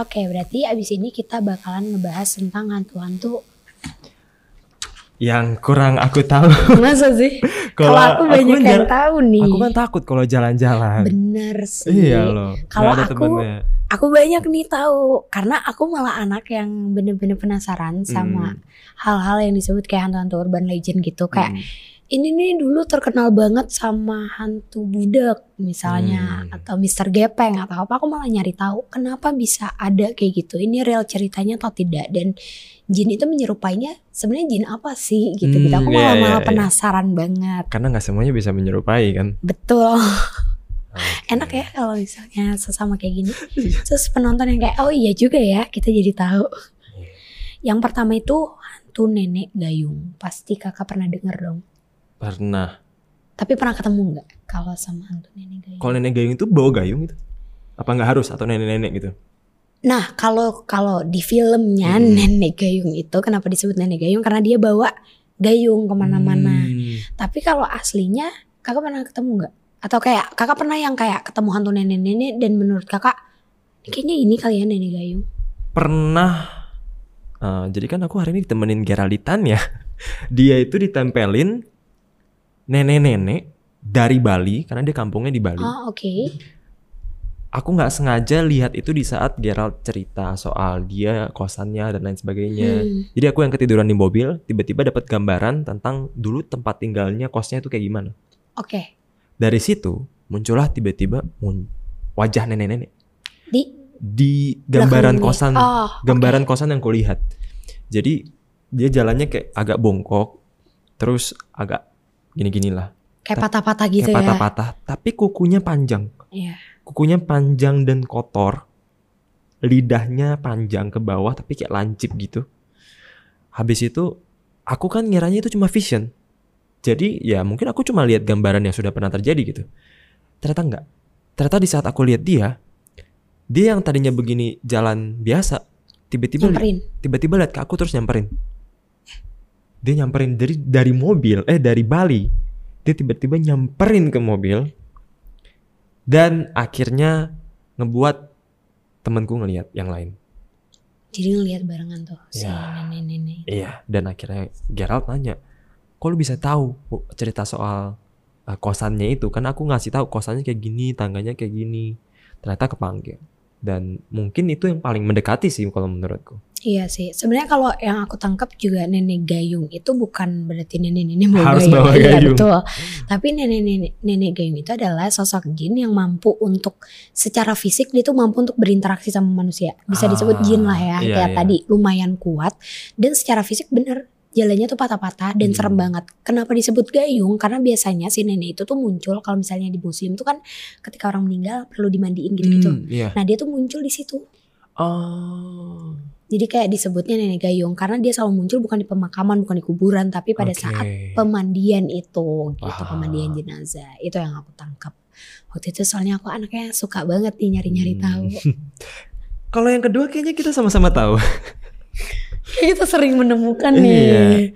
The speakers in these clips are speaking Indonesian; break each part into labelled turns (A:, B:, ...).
A: Oke, berarti abis ini kita bakalan ngebahas tentang hantu-hantu.
B: Yang kurang aku tahu.
A: Masa sih? Kalau aku banyak
B: kan
A: yang
B: jar-
A: tahu nih.
B: Aku kan takut kalau jalan-jalan.
A: Bener sih.
B: Iya loh. nggak
A: Kalau
B: ada
A: aku-
B: temennya. Hmm.
A: Aku banyak nih tahu karena aku malah anak yang bener-bener penasaran sama
B: Hmm,
A: hal-hal yang disebut kayak hantu-hantu urban legend gitu kayak
B: hmm.
A: ini nih dulu terkenal banget sama hantu budak misalnya
B: Hmm.
A: atau Mister Gepeng atau apa aku malah nyari tahu kenapa bisa ada kayak gitu ini real ceritanya atau tidak dan jin itu menyerupainya sebenarnya jin apa sih gitu gitu
B: Hmm,
A: aku
B: iya,
A: malah
B: iya,
A: malah
B: iya.
A: penasaran banget
B: Karena nggak semuanya bisa menyerupai kan.
A: betul
B: Oke.
A: enak ya kalau misalnya sesama kayak gini
B: Iya.
A: terus penonton yang kayak oh iya juga ya kita jadi tahu yang pertama itu hantu nenek gayung pasti kakak pernah denger dong
B: Pernah.
A: tapi pernah ketemu nggak kalau sama hantu nenek gayung
B: Kalau nenek gayung itu bawa gayung gitu? Apa nggak harus atau nenek-nenek gitu?
A: nah kalau kalau di filmnya
B: Hmm.
A: nenek gayung itu kenapa disebut nenek gayung karena dia bawa gayung kemana-mana
B: Hmm.
A: tapi kalau aslinya kakak pernah ketemu nggak atau kayak kakak pernah yang kayak ketemu hantu nenek-nenek dan menurut kakak kayaknya ini kali ya nenek gayung
B: Pernah. Eh, jadi kan aku hari ini ditemenin Geralitan ya. Dia itu ditempelin nenek-nenek dari Bali karena dia kampungnya di Bali.
A: Ah oke.
B: Aku nggak sengaja lihat itu di saat Gerald cerita soal dia kosannya dan lain sebagainya.
A: Hmm.
B: Jadi aku yang ketiduran di mobil, tiba-tiba dapat gambaran tentang dulu tempat tinggalnya kosnya itu kayak gimana.
A: Oke.
B: Dari situ muncullah tiba-tiba mun- wajah nenek-nenek
A: Di
B: di gambaran
A: belakang
B: kosan,
A: ini. Oh,
B: gambaran kosan yang kulihat. Jadi dia jalannya kayak agak bongkok, terus agak gini-ginilah,
A: kayak patah-patah gitu
B: kayak
A: ya.
B: patah-patah, tapi kukunya panjang.
A: Iya.
B: Kukunya panjang dan kotor. Lidahnya panjang ke bawah tapi kayak lancip gitu. Habis itu aku kan ngiranya itu cuma vision. Jadi ya mungkin aku cuma lihat gambaran yang sudah pernah terjadi gitu. Ternyata enggak. Ternyata di saat aku lihat dia, dia yang tadinya begini jalan biasa, tiba-tiba
A: Nyamperin.
B: tiba-tiba lihat ke aku terus nyamperin. Dia nyamperin dari dari mobil, eh dari Bali. Dia tiba-tiba nyamperin ke mobil dan akhirnya ngebuat temanku ngelihat yang lain.
A: Jadi ngeliat barengan tuh si
B: Ya.
A: nenek-nenek.
B: Iya, dan akhirnya Gerald nanya, "Kok lu bisa tahu Bu, cerita soal uh, kosannya itu?" Kan aku ngasih tahu kosannya kayak gini, tangganya kayak gini. Ternyata kepanggil. Dan mungkin itu yang paling mendekati sih kalau menurutku.
A: Iya sih. Sebenarnya kalau yang aku tangkap juga nenek gayung itu bukan berarti nenek-nenek bawa
B: Harus
A: gayung.
B: bawa
A: Iya,
B: gayung.
A: betul. Tapi nenek-nenek nenek gayung itu adalah sosok jin yang mampu untuk secara fisik dia tuh mampu untuk berinteraksi sama manusia. Bisa disebut
B: Ah,
A: jin lah ya.
B: iya,
A: kayak
B: iya.
A: tadi lumayan kuat dan secara fisik bener jalannya tuh patah-patah dan
B: Hmm.
A: serem banget. Kenapa disebut gayung? Karena biasanya si nenek itu tuh muncul kalau misalnya di muslim tuh kan ketika orang meninggal perlu dimandiin gitu-gitu.
B: Hmm, iya.
A: Nah, dia tuh muncul di situ.
B: Oh.
A: Jadi kayak disebutnya nenek gayung karena dia selalu muncul bukan di pemakaman, bukan di kuburan, tapi pada saat
B: Oke.
A: pemandian itu gitu,
B: Wah.
A: pemandian jenazah. Itu yang aku tangkap. Waktu itu soalnya aku anaknya suka banget nih nyari-nyari
B: Hmm.
A: tahu.
B: Kalau yang kedua kayaknya kita sama-sama tahu.
A: Kita sering menemukan
B: Iya.
A: nih.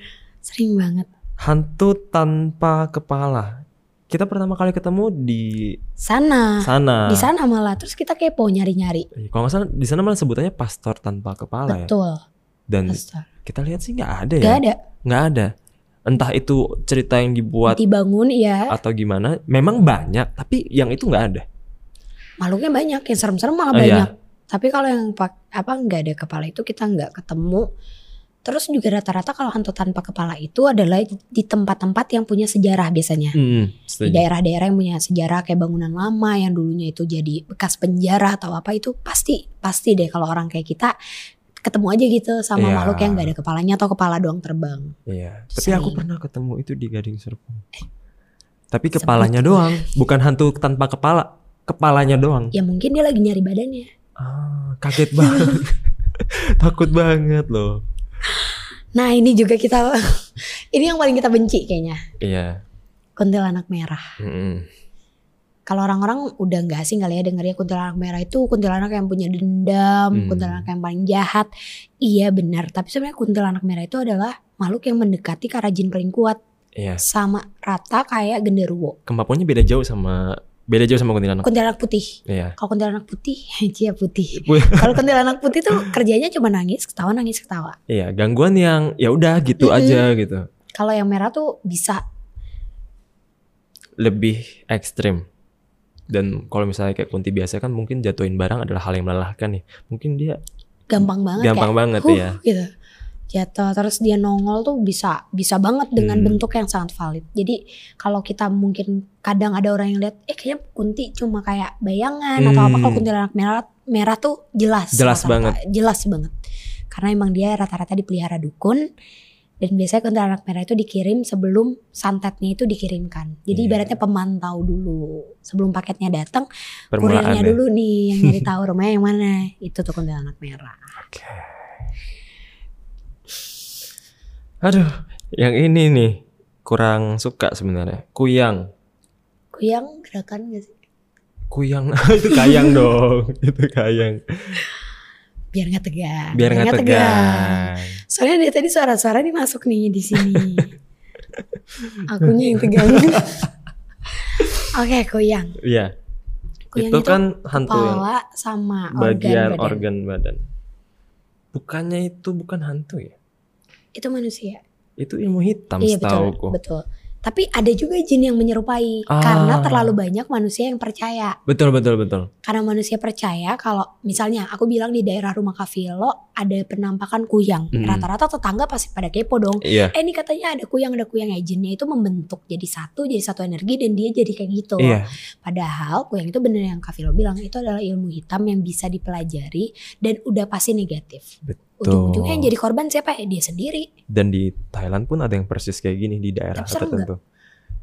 A: Sering banget.
B: Hantu tanpa kepala. Kita pertama kali ketemu di
A: Sana, Ah,
B: sana.
A: di sana malah terus kita kepo nyari-nyari.
B: Eh, Kalau nggak salah di sana malah sebutannya pastor tanpa kepala ya.
A: Betul.
B: Dan
A: Astaga.
B: kita lihat sih nggak ada ya.
A: Gak ada.
B: Nggak ada. Entah itu cerita yang dibuat
A: Dibangun ya.
B: atau gimana. Memang banyak, tapi yang itu nggak ada.
A: Makhluknya banyak. Yang serem-serem malah
B: Oh, iya.
A: banyak. Tapi kalau yang pak- apa nggak ada kepala itu kita nggak ketemu. Terus juga rata-rata kalau hantu tanpa kepala itu adalah di tempat-tempat yang punya sejarah biasanya. Di
B: Hmm, setuju.
A: daerah-daerah yang punya sejarah kayak bangunan lama yang dulunya itu jadi bekas penjara atau apa itu pasti pasti deh kalau orang kayak kita ketemu aja gitu sama
B: Iya.
A: makhluk yang nggak ada kepalanya atau kepala doang terbang.
B: Iya. Tapi
A: Sering.
B: aku pernah ketemu itu di Gading Serpong.
A: Eh.
B: Tapi kepalanya doang, bukan hantu tanpa kepala. Kepalanya doang.
A: Ya mungkin dia lagi nyari badannya.
B: Ah, kaget banget. Takut banget loh.
A: Nah ini juga kita ini yang paling kita benci kayaknya
B: Iya.
A: kuntilanak merah. Kalau orang-orang udah nggak asing kali ya dengarnya kuntilanak merah itu kuntilanak yang punya dendam,
B: Hmm.
A: kuntilanak yang paling jahat. Iya benar, tapi sebenarnya kuntilanak merah itu adalah makhluk yang mendekati ke arah jin paling kuat
B: Iya.
A: sama rata kayak genderuwo.
B: Kemampuannya beda jauh sama Beda jauh sama kuntilanak.
A: kuntilanak putih
B: Iya.
A: kalau kuntilanak putih dia putih
B: Bu-
A: kalau kuntilanak putih tuh kerjanya cuma nangis ketawa nangis ketawa
B: Iya, gangguan yang ya udah gitu
A: Mm-mm.
B: aja gitu.
A: kalau yang merah tuh bisa
B: Lebih ekstrim. Dan kalau misalnya kayak kunti biasa kan mungkin jatuhin barang adalah hal yang melelahkan ya. Mungkin dia
A: gampang banget
B: gampang banget
A: kayak "Huh,"
B: ya.
A: gitu jatuh terus dia nongol tuh bisa bisa banget dengan
B: Hmm.
A: bentuk yang sangat valid jadi kalau kita mungkin kadang ada orang yang lihat eh kayaknya kunti cuma kayak bayangan atau apa
B: Hmm.
A: kalau kuntilanak merah merah tuh jelas
B: Jelas
A: rata-rata. jelas banget karena emang dia rata-rata dipelihara dukun dan biasanya kuntilanak merah itu dikirim sebelum santetnya itu dikirimkan jadi
B: Iya.
A: ibaratnya pemantau dulu sebelum paketnya datang
B: Permulaan
A: kurirnya
B: ya.
A: dulu nih yang nyari tahu rumahnya yang mana itu tuh kuntilanak merah
B: Oke. Aduh, yang ini nih kurang suka sebenarnya. Kuyang.
A: Kuyang gerakan gak sih?
B: Kuyang itu kayang dong. Itu kayang.
A: Biar nggak tegang.
B: Biar nggak tegang.
A: Soalnya dari tadi suara-suara nih masuk nih di sini. Akunya yang tegang. Oke, kuyang.
B: Iya,
A: Kuyang
B: itu kan hantu yang
A: kepala sama organ
B: bagian
A: badan.
B: organ badan. Bukannya itu bukan hantu ya?
A: Itu manusia.
B: Itu ilmu hitam
A: iya betul,
B: setahuku.
A: betul. Tapi ada juga jin yang menyerupai
B: Ah.
A: karena terlalu banyak manusia yang percaya.
B: Betul betul betul.
A: Karena manusia percaya kalau misalnya aku bilang di daerah rumah Kavilo ada penampakan kuyang.
B: Hmm.
A: Rata-rata tetangga pasti pada kepo dong.
B: Iya.
A: eh ini katanya ada kuyang ada kuyang ya jinnya itu membentuk jadi satu jadi satu energi dan dia jadi kayak gitu
B: Iya.
A: padahal kuyang itu bener yang Kavilo bilang itu adalah ilmu hitam yang bisa dipelajari dan udah pasti negatif ujung-ujungnya yang jadi korban siapa ya dia sendiri
B: Dan di Thailand pun ada yang persis kayak gini di daerah
A: Tapi serem
B: tertentu.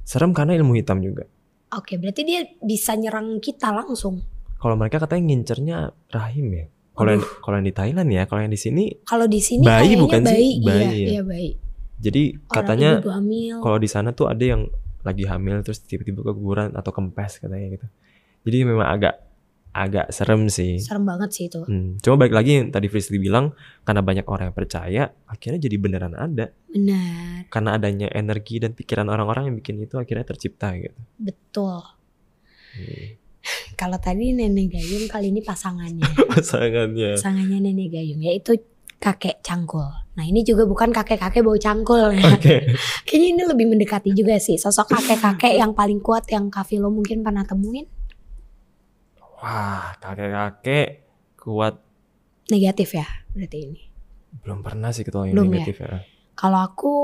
B: Serem karena ilmu hitam juga.
A: oke berarti dia bisa nyerang kita langsung
B: Kalau mereka katanya ngincernya rahim ya. Kalau yang, kalau yang di Thailand ya, kalau yang di sini
A: kalau di sini
B: Bayi
A: kayaknya
B: bukan sih?
A: bayi,
B: Bayi,
A: iya
B: ya.
A: iya bayi
B: jadi
A: Orang
B: katanya
A: ibu hamil
B: kalau di sana tuh ada yang lagi hamil terus tiba-tiba keguguran atau kempes katanya gitu. Jadi memang agak agak serem sih.
A: serem banget sih itu
B: Hmm, cuma balik lagi yang tadi Frisly bilang karena banyak orang yang percaya akhirnya jadi beneran ada
A: benar
B: karena adanya energi dan pikiran orang-orang yang bikin itu akhirnya tercipta gitu.
A: betul
B: Hmm.
A: kalau tadi nenek gayung kali ini pasangannya
B: Pasangannya.
A: pasangannya nenek gayung yaitu kakek cangkul. Nah ini juga bukan kakek-kakek bau cangkul ya.
B: Oke.
A: Kayaknya ini lebih mendekati juga sih sosok kakek-kakek yang paling kuat yang Kavilo mungkin pernah temuin
B: Wah kakek-kakek kuat
A: negatif ya berarti ini.
B: belum pernah sih ketemu yang
A: Belum ya?
B: negatif ya.
A: Kalau aku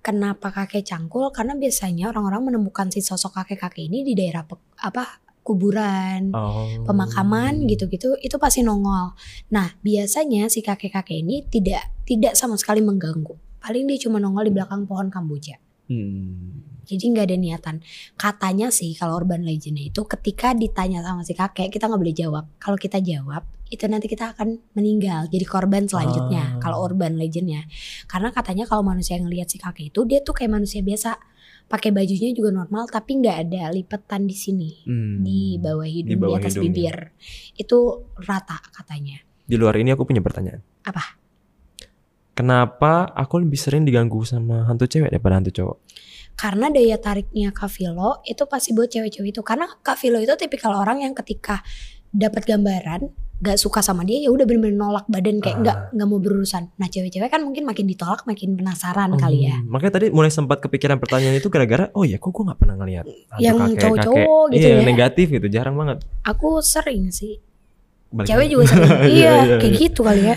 A: kenapa kakek cangkul karena biasanya orang-orang menemukan si sosok kakek-kakek ini di daerah pe- apa kuburan.
B: Oh.
A: pemakaman gitu. gitu-gitu itu pasti nongol. Nah biasanya si kakek-kakek ini tidak tidak sama sekali mengganggu. Paling dia cuma nongol di belakang pohon kamboja.
B: Hmm.
A: Jadi nggak ada niatan. Katanya sih kalau urban legendnya itu ketika ditanya sama si kakek kita nggak boleh jawab. Kalau kita jawab itu nanti kita akan meninggal jadi korban selanjutnya
B: Ah.
A: kalau urban legendnya. Karena katanya kalau manusia yang lihat si kakek itu dia tuh kayak manusia biasa pakai bajunya juga normal tapi nggak ada lipetan di sini
B: Hmm.
A: di bawah hidung di,
B: bawah
A: atas
B: hidungnya.
A: bibir itu rata katanya.
B: Di luar ini aku punya pertanyaan.
A: Apa?
B: Kenapa aku lebih sering diganggu sama hantu cewek daripada hantu cowok?
A: karena daya tariknya Kavilo itu pasti buat cewek-cewek itu karena Kavilo itu tipikal orang yang ketika dapat gambaran gak suka sama dia ya udah bener-bener nolak badan kayak
B: Ah.
A: nggak nggak mau berurusan nah cewek-cewek kan mungkin makin ditolak makin penasaran kali ya
B: Hmm, Makanya tadi mulai sempat kepikiran pertanyaan itu gara-gara oh ya kok gue nggak pernah ngelihat hantu
A: Yang
B: kakek-kakek.
A: cowok-cowok gitu
B: iya,
A: ya.
B: negatif gitu, jarang banget.
A: aku sering sih
B: Balik
A: cewek
B: lagi.
A: juga sering
B: Iya, iya,
A: iya kayak
B: iya.
A: gitu kali ya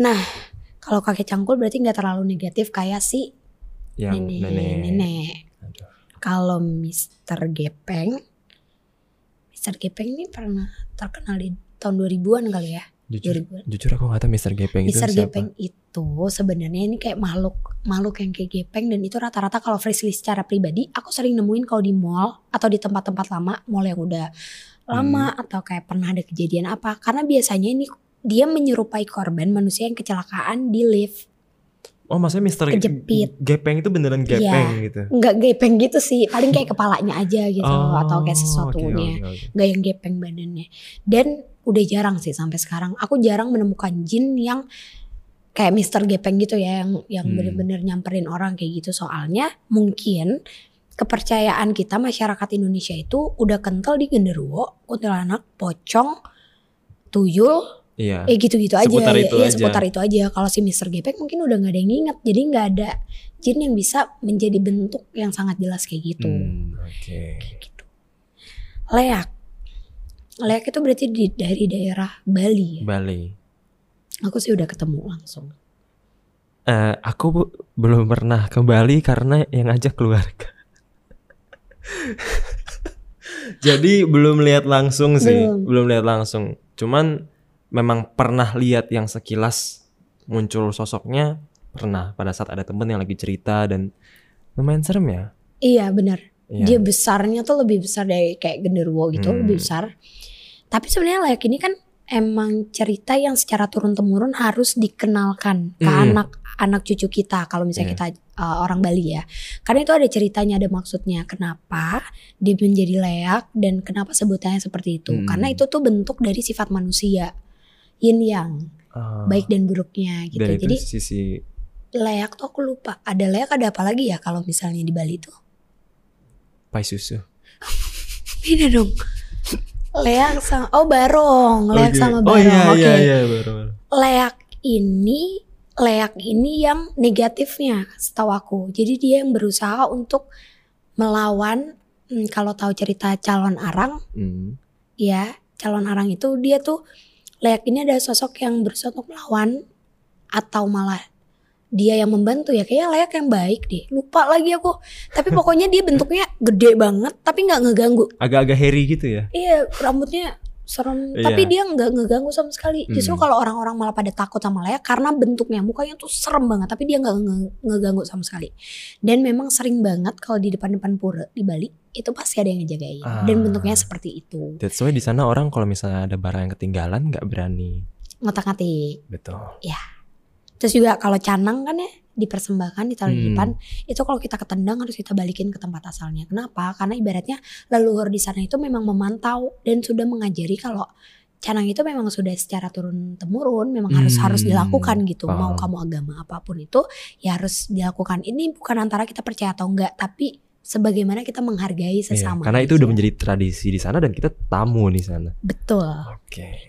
A: nah kalau kakek cangkul berarti nggak terlalu negatif kayak si
B: yang
A: nenek
B: nenek.
A: nenek
B: Aduh.
A: kalau Mister Gepeng Mister Gepeng ini pernah terkenal di tahun 2000-an kali ya
B: Jujur,
A: 2000-an
B: jujur aku nggak tahu Mr. Gepeng Iya. itu
A: Mister
B: siapa.
A: Gepeng itu sebenarnya ini kayak makhluk makhluk yang kayak gepeng dan itu rata-rata kalau Frisley secara pribadi aku sering nemuin kalau di mall atau di tempat-tempat lama, mall yang udah lama
B: Hmm.
A: atau kayak pernah ada kejadian apa karena biasanya ini dia menyerupai korban manusia yang kecelakaan di lift.
B: Oh maksudnya Mister
A: Kejepit. Iya.
B: Gepeng itu beneran gepeng gitu.
A: Enggak gepeng gitu sih, paling kayak kepalanya aja gitu atau kayak sesuatunya.
B: Oh, oke, oke, oke.
A: nggak yang gepeng badannya dan udah jarang sih sampai sekarang aku jarang menemukan jin yang kayak Mister Gepeng gitu ya yang yang
B: Hmm.
A: bener-bener nyamperin orang kayak gitu soalnya mungkin kepercayaan kita masyarakat Indonesia itu udah kental di genderuwo, kuntilanak, pocong, tuyul,
B: Iya.
A: eh gitu-gitu aja.
B: Seputar
A: ya.
B: itu
A: Iya,
B: aja.
A: seputar itu aja. Kalau si Mr. Gepeng mungkin udah nggak ada yang ingat, jadi nggak ada jin yang bisa menjadi bentuk yang sangat jelas kayak gitu.
B: Hmm, Oke.
A: Kayak gitu. Leak. Leak itu berarti di- dari daerah Bali ya.
B: Bali.
A: Aku sih udah ketemu langsung.
B: Eh, aku bu- belum pernah ke Bali karena yang ngajak keluarga. Jadi belum lihat langsung sih,
A: Belum.
B: belum, lihat langsung. Cuman memang pernah lihat yang sekilas muncul sosoknya pernah pada saat ada temen yang lagi cerita dan lumayan serem ya.
A: Iya benar.
B: Iya.
A: Dia besarnya tuh lebih besar dari kayak genderuwo gitu,
B: Hmm.
A: lebih besar. Tapi sebenarnya leak ini kan emang cerita yang secara turun temurun harus dikenalkan ke
B: Hmm.
A: anak-anak cucu kita kalau misalnya
B: Iya.
A: kita uh, orang Bali ya. Karena itu ada ceritanya, ada maksudnya. Kenapa dia menjadi leak dan kenapa sebutannya seperti itu?
B: Hmm.
A: Karena itu tuh bentuk dari sifat manusia yin yang
B: Ah,
A: baik dan buruknya gitu.
B: dan itu
A: Jadi
B: sisi
A: leak tuh aku lupa. Ada leak ada apa lagi ya kalau misalnya di Bali tuh?
B: pai susu.
A: Beda dong. Leak sama oh barong, leak
B: Oke.
A: sama barong.
B: Oh iya
A: Oke.
B: iya iya barong.
A: Leak ini leak ini yang negatifnya setahu aku. Jadi dia yang berusaha untuk melawan hmm, kalau tahu cerita calon arang
B: Hmm.
A: ya, calon arang itu dia tuh leak ini ada sosok yang berusaha untuk melawan atau malah dia yang membantu ya kayaknya leak yang baik deh lupa lagi aku tapi pokoknya dia bentuknya gede banget tapi nggak ngeganggu
B: Agak-agak hairy gitu ya.
A: Iya rambutnya serem
B: Iya.
A: tapi dia nggak ngeganggu sama sekali justru
B: Mm.
A: kalau orang-orang malah pada takut sama Lea karena bentuknya mukanya tuh serem banget tapi dia nggak nge- ngeganggu sama sekali dan memang sering banget kalau di depan-depan pura di Bali itu pasti ada yang ngejagain dan
B: Ah.
A: bentuknya seperti itu
B: That's why di sana orang kalau misalnya ada barang yang ketinggalan nggak berani.
A: ngotak-ngatik
B: Betul.
A: terus juga kalau canang kan ya dipersembahkan ditaruh di
B: Hmm.
A: depan itu kalau kita ketendang harus kita balikin ke tempat asalnya kenapa karena ibaratnya leluhur di sana itu memang memantau dan sudah mengajari kalau canang itu memang sudah secara turun temurun memang harus
B: Hmm,
A: harus dilakukan gitu mau
B: paham.
A: kamu agama apapun itu ya harus dilakukan ini bukan antara kita percaya atau enggak tapi sebagaimana kita menghargai
B: Iya,
A: sesama
B: karena itu
A: aja.
B: udah menjadi tradisi di sana dan kita tamu di sana.
A: betul
B: Oke.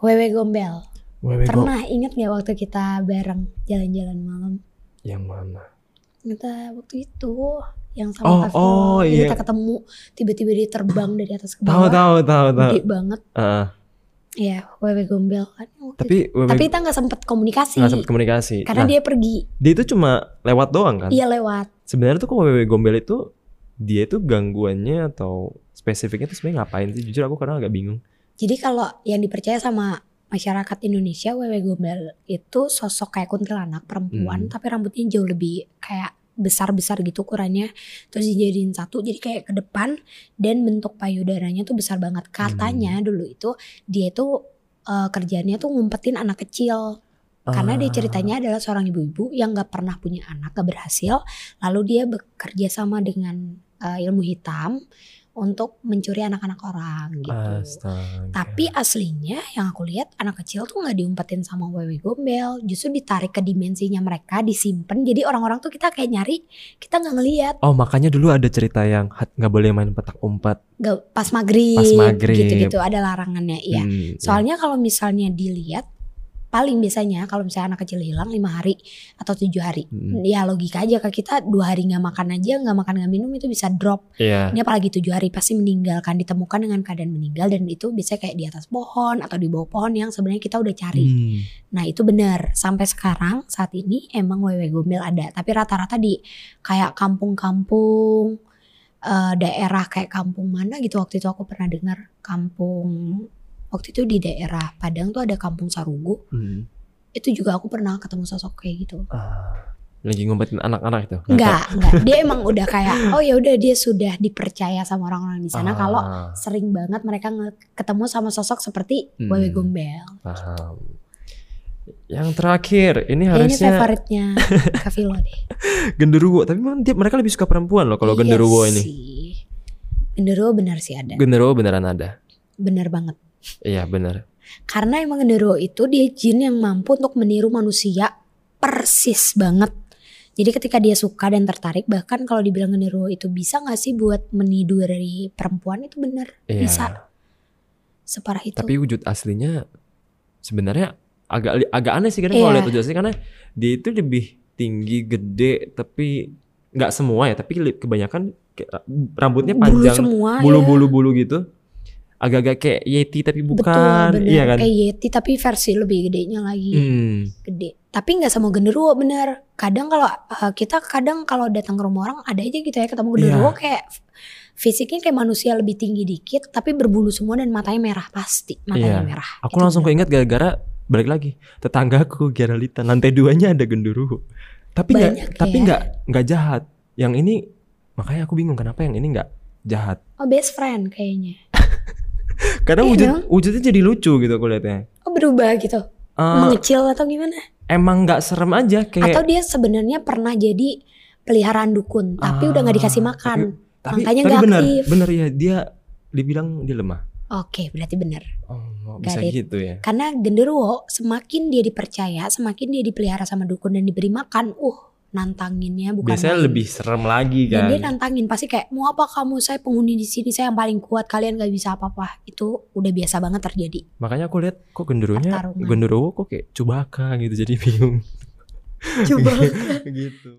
A: wewe gombel
B: Wewe Go-
A: pernah inget nggak waktu kita bareng jalan-jalan malam
B: yang mana?
A: kita waktu itu yang sama
B: Oh,
A: Kak Vio,
B: oh,
A: yang
B: iya.
A: kita ketemu tiba-tiba dia terbang dari atas ke
B: Tahu
A: bawah
B: tahu tahu tahu.
A: gede banget
B: Heeh.
A: ya wewe gombel kan waktu
B: tapi
A: itu.
B: Wewe
A: tapi kita nggak sempet komunikasi
B: nggak sempet komunikasi.
A: karena
B: Nah,
A: dia pergi
B: dia itu cuma lewat doang kan?
A: iya lewat
B: Sebenarnya tuh kalau Wewe Gombel itu dia itu gangguannya atau spesifiknya tuh sebenarnya ngapain sih? Jujur aku kadang agak bingung.
A: jadi kalau yang dipercaya sama masyarakat Indonesia wewe gombel itu sosok kayak kuntilanak perempuan
B: Hmm.
A: tapi rambutnya jauh lebih kayak besar-besar gitu ukurannya terus dijadiin satu jadi kayak ke depan dan bentuk payudaranya tuh besar banget
B: Hmm.
A: katanya dulu itu dia itu eh, kerjaannya tuh ngumpetin anak kecil Karena dia
B: Ah,
A: ceritanya adalah seorang ibu-ibu yang gak pernah punya anak, gak berhasil. Lalu dia bekerja sama dengan eh, ilmu hitam untuk mencuri anak-anak orang gitu.
B: Astaga.
A: Tapi aslinya yang aku lihat anak kecil tuh gak diumpetin sama wewe gombel. Justru ditarik ke dimensinya mereka, disimpan. Jadi orang-orang tuh kita kayak nyari, kita gak ngeliat.
B: Oh makanya dulu ada cerita yang hat- nggak boleh main petak umpet.
A: Gak, pas maghrib,
B: Pas maghrib.
A: gitu-gitu ada larangannya. Iya.
B: Hmm, iya.
A: Soalnya kalau misalnya dilihat paling biasanya kalau misalnya anak kecil hilang lima hari atau tujuh hari,
B: Hmm.
A: ya logika aja ke kita dua hari nggak makan aja nggak makan nggak minum itu bisa drop.
B: Iya.
A: Ini apalagi tujuh hari pasti meninggalkan ditemukan dengan keadaan meninggal dan itu biasanya kayak di atas pohon atau di bawah pohon yang sebenarnya kita udah cari.
B: Hmm.
A: Nah itu benar sampai sekarang saat ini emang wewe gombel ada tapi rata-rata di kayak kampung-kampung eh, daerah kayak kampung mana gitu waktu itu aku pernah dengar kampung waktu itu di daerah Padang tuh ada kampung Sarugu
B: Hmm.
A: itu juga aku pernah ketemu sosok kayak gitu
B: Ah, lagi ngumpetin anak-anak itu?
A: Enggak, enggak. Dia emang udah kayak oh ya udah dia sudah dipercaya sama orang-orang di
B: Ah.
A: sana kalau sering banget mereka nge- ketemu sama sosok seperti
B: Hmm.
A: Wewe Gombel.
B: paham. Yang terakhir, ini
A: Ya, ini
B: harusnya
A: favoritnya Kavilo deh.
B: genderuwo, tapi memang dia- mereka lebih suka perempuan loh kalau
A: Iya
B: genderuwo ini.
A: sih. Genderuwo benar sih ada.
B: Genderuwo beneran ada.
A: Benar banget.
B: Iya, bener.
A: Karena emang genderuwo itu dia jin yang mampu untuk meniru manusia persis banget. Jadi ketika dia suka dan tertarik, bahkan kalau dibilang genderuwo itu bisa nggak sih buat meniduri perempuan itu bener
B: Iya.
A: Bisa. separah itu.
B: Tapi wujud aslinya sebenarnya agak agak aneh sih kadang kalau
A: Iya.
B: lihat wujud aslinya karena dia itu lebih tinggi, gede, tapi nggak semua ya, tapi li- kebanyakan kayak rambutnya
A: bulu
B: panjang,
A: semua ya.
B: bulu-bulu bulu gitu. Agak-agak kayak yeti tapi bukan,
A: Betul, bener.
B: iya kan?
A: Kayak Yeti tapi versi lebih gedenya lagi.
B: Hmm.
A: gede. Tapi nggak semua genderuwo bener. Kadang kalau eh, kita kadang kalau datang ke rumah orang ada aja gitu ya
B: Iya.
A: ketemu genderuwo kayak f- fisiknya kayak manusia lebih tinggi dikit tapi berbulu semua dan matanya merah pasti matanya
B: Iya.
A: merah.
B: Aku
A: Itu
B: langsung
A: bener.
B: keinget gara-gara balik lagi tetanggaku Geralita lantai duanya ada genderuwo. Tapi
A: Banyak
B: nggak tapi
A: ya.
B: nggak nggak jahat. Yang ini makanya aku bingung kenapa yang ini nggak jahat.
A: Oh best friend kayaknya. Iya
B: Karena wujud
A: dong.
B: wujudnya jadi lucu gitu aku liatnya.
A: Oh berubah gitu,
B: Eh, iya.
A: mengecil atau gimana?
B: emang nggak serem aja
A: Atau
B: kayak
A: dia sebenarnya pernah jadi peliharaan dukun tapi
B: Ah,
A: udah nggak dikasih makan.
B: tapi
A: makanya
B: tapi
A: nggak
B: benar
A: aktif.
B: benar ya dia dibilang dia lemah.
A: Oke berarti bener.
B: Oh,
A: Nggak
B: bisa
A: ada-
B: gitu ya.
A: Karena genderuwo semakin dia dipercaya, semakin dia dipelihara sama dukun dan diberi makan, uh nantanginnya bukan
B: Biasanya
A: main.
B: lebih serem lagi
A: Dan dia
B: kan.
A: nantangin pasti kayak mau apa kamu saya penghuni di sini saya yang paling kuat kalian gak bisa apa-apa itu udah biasa banget terjadi
B: Makanya aku lihat kok genderuwonya
A: Pertarungan.
B: genderuwo kok kayak cubaka gitu jadi bingung
A: coba
B: gitu.